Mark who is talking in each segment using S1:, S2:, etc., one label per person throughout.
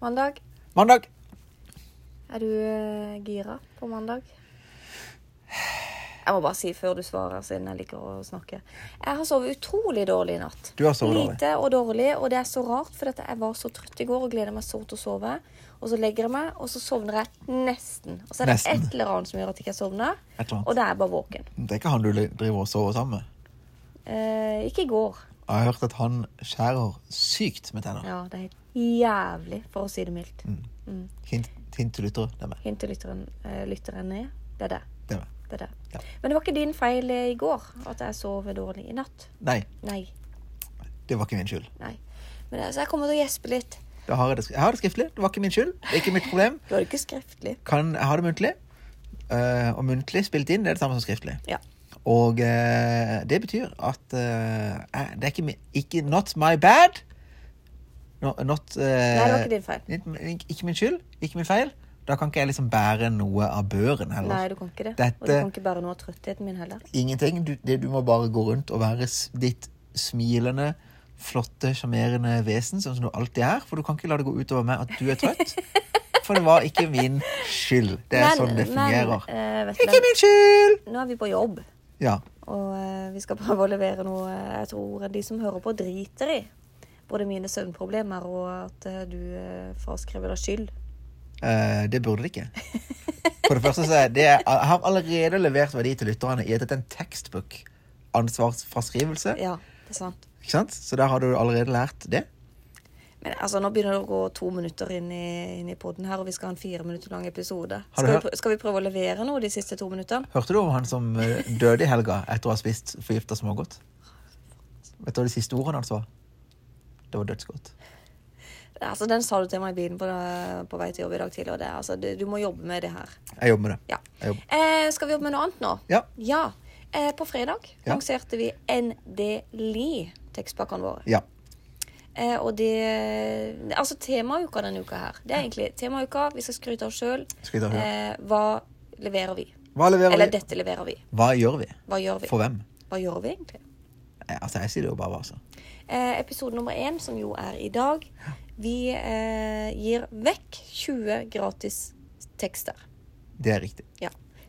S1: Mandag.
S2: Mandag!
S1: Er du eh, gira på mandag? Jeg må bare si før du svarer, siden jeg liker å snakke. Jeg har sovet utrolig dårlig i natt.
S2: Du har sovet dårlig.
S1: Lite og dårlig, og det er så rart, for dette, jeg var så trøtt i går og gleder meg så til å sove. Og så legger jeg meg, og så sovner jeg nesten. Og så er det
S2: Nesten.
S1: et eller annet som gjør at jeg ikke sovner,
S2: Et eller annet.
S1: og da er jeg bare våken.
S2: Det er ikke han du li- driver og sover sammen med.
S1: Eh, ikke i går.
S2: Jeg har hørt at han skjærer sykt med tenner.
S1: Ja, det er helt jævlig, for å si det mildt.
S2: Mm.
S1: Mm.
S2: Hint, hint til lyttere. Det er meg.
S1: Hint til lytteren, eh, lytteren er det er det.
S2: Det er meg.
S1: Det er det.
S2: Ja.
S1: Men det var ikke din feil eh, i går at jeg sov dårlig i natt.
S2: Nei,
S1: Nei.
S2: det var ikke min skyld.
S1: nei. Men altså, jeg kommer til å gjespe litt.
S2: Da har jeg, det, sk- jeg har det skriftlig. Det var ikke min skyld. Det er ikke mitt problem.
S1: Du har det ikke skriftlig.
S2: Kan jeg har det muntlig. Eh, og muntlig spilt inn det er det samme som skriftlig.
S1: Ja.
S2: Og eh, det betyr at eh, jeg- Det er ikke, mi- ikke Not my bad. No, not eh,
S1: Nei, det var ikke din feil.
S2: Ikke, ikke min skyld. Ikke min feil. Da kan ikke jeg liksom bære noe av børen heller.
S1: Nei, du kan ikke det.
S2: Dette-
S1: Og du kan ikke bære noe av trøttheten min heller.
S2: Ingenting. Du, det, du må bare gå rundt og være s- ditt smilende, flotte, sjarmerende vesen, sånn som du alltid er. For du kan ikke la det gå utover meg at du er trøtt. For det var ikke min skyld. Det er sånn det fungerer.
S1: Men, eh, vet du
S2: Ikke
S1: hva?
S2: min skyld!
S1: Nå er vi på jobb,
S2: Ja.
S1: og eh, vi skal prøve å levere noe eh, jeg tror de som hører på, driter i. Både mine søvnproblemer og at eh, du eh, fraskriver deg skyld.
S2: Eh, det burde det ikke. For det første så er det Jeg har allerede levert verdi til lytterne i at dette er en tekstbook. Ansvarsfraskrivelse.
S1: Ja, det er sant.
S2: Ikke sant? Så der har du allerede lært det.
S1: Men altså, Nå begynner det å gå to minutter inn i, inn i podden her, og vi skal ha en fire minutter lang episode.
S2: Har
S1: Skal
S2: du
S1: vi,
S2: hørt-
S1: prø- skal vi prøve å levere noe de siste to minuttene?
S2: Hørte du om han som eh, døde i helga etter å ha spist forgifta smågodt? Vet du hva de siste ordene hans var? Det var dødsgodt.
S1: Altså, Den sa du til meg i bilen på, på vei til jobb i dag tidlig, og det, er altså, det, du må jobbe med det her.
S2: Jeg jobber med det.
S1: Ja.
S2: Jeg jobber.
S1: Eh, skal vi jobbe med noe annet nå?
S2: Ja.
S1: Eh, på fredag
S2: Ja.
S1: lanserte vi NDLI-tekstpakkene våre.
S2: Ja.
S1: Eh, og det Altså temauka denne uka her. Det er egentlig temauka. Vi skal skryte av oss sjøl.
S2: Skryte av oss
S1: Eh, hva leverer vi?
S2: Hva leverer
S1: Eller
S2: vi?
S1: dette leverer vi.
S2: Hva gjør vi?
S1: Hva gjør vi?
S2: For hvem?
S1: Hva gjør vi egentlig?
S2: Eh, Altså, jeg sier det jo bare, altså.
S1: Eh, episode nummer én, som jo er i dag. Vi eh, gir vekk 20 gratis tekster.
S2: Det er riktig.
S1: Ja.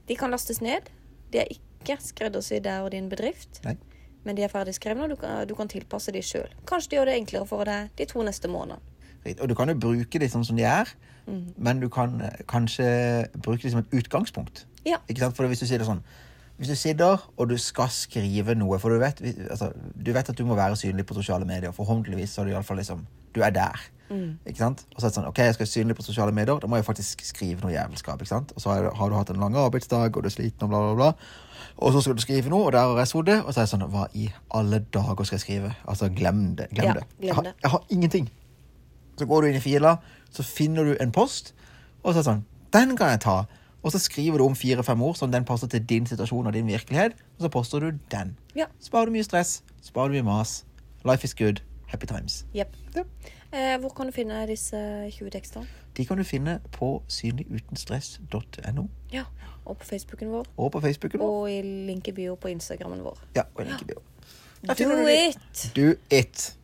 S1: De kan lastes ned. De er ikke skreddersydd deg og din bedrift.
S2: Nei.
S1: Men de er ferdigskrevne, og du kan, du kan tilpasse de sjøl. Kanskje de gjør det enklere for deg de to neste månedene.
S2: Riktig. Og du kan jo bruke de sånn som de er,
S1: Mm.
S2: men du kan eh, kanskje bruke de som et utgangspunkt.
S1: Ja.
S2: Ikke sant? For hvis du sier det sånn Hvis du sitter og du skal skrive noe For du vet, altså, du vet at du må være synlig på sosiale medier. Forhåpentligvis så er du iallfall liksom Du er der.
S1: Mm.
S2: Ikke sant? Og så er det sånn OK, jeg skal være synlig på sosiale medier. Da må jeg faktisk skrive noe jævelskap. Ikke sant? Og så er det- har du hatt en lang arbeidsdag, og du er sliten, og bla, bla, bla. Og så skal du skrive noe, og der har jeg sittet, og så er det sånn Hva i alle dager skal jeg skrive? Altså, glem det. Glem
S1: Ja,
S2: det.
S1: glem
S2: Jeg har,
S1: det.
S2: jeg har ingenting. Så går du inn i fila, så finner du en post, og så er det sånn Den kan jeg ta. Og så skriver du om fire-fem ord som den passer til din situasjon og din virkelighet, og så poster du den.
S1: Ja.
S2: Sparer du mye stress, sparer du mye mas. Life is good. Happy times.
S1: Jepp.
S2: Ja.
S1: Eh, hvor kan du finne disse 20 tekstene?
S2: De kan du finne på synligutenstress.no
S1: Ja. Og på Facebooken vår.
S2: og på Facebooken vår.
S1: Og i link i bio på Instagrammen vår.
S2: Ja, og link i bio. Der
S1: Do
S2: finner du de.
S1: it!
S2: Do it.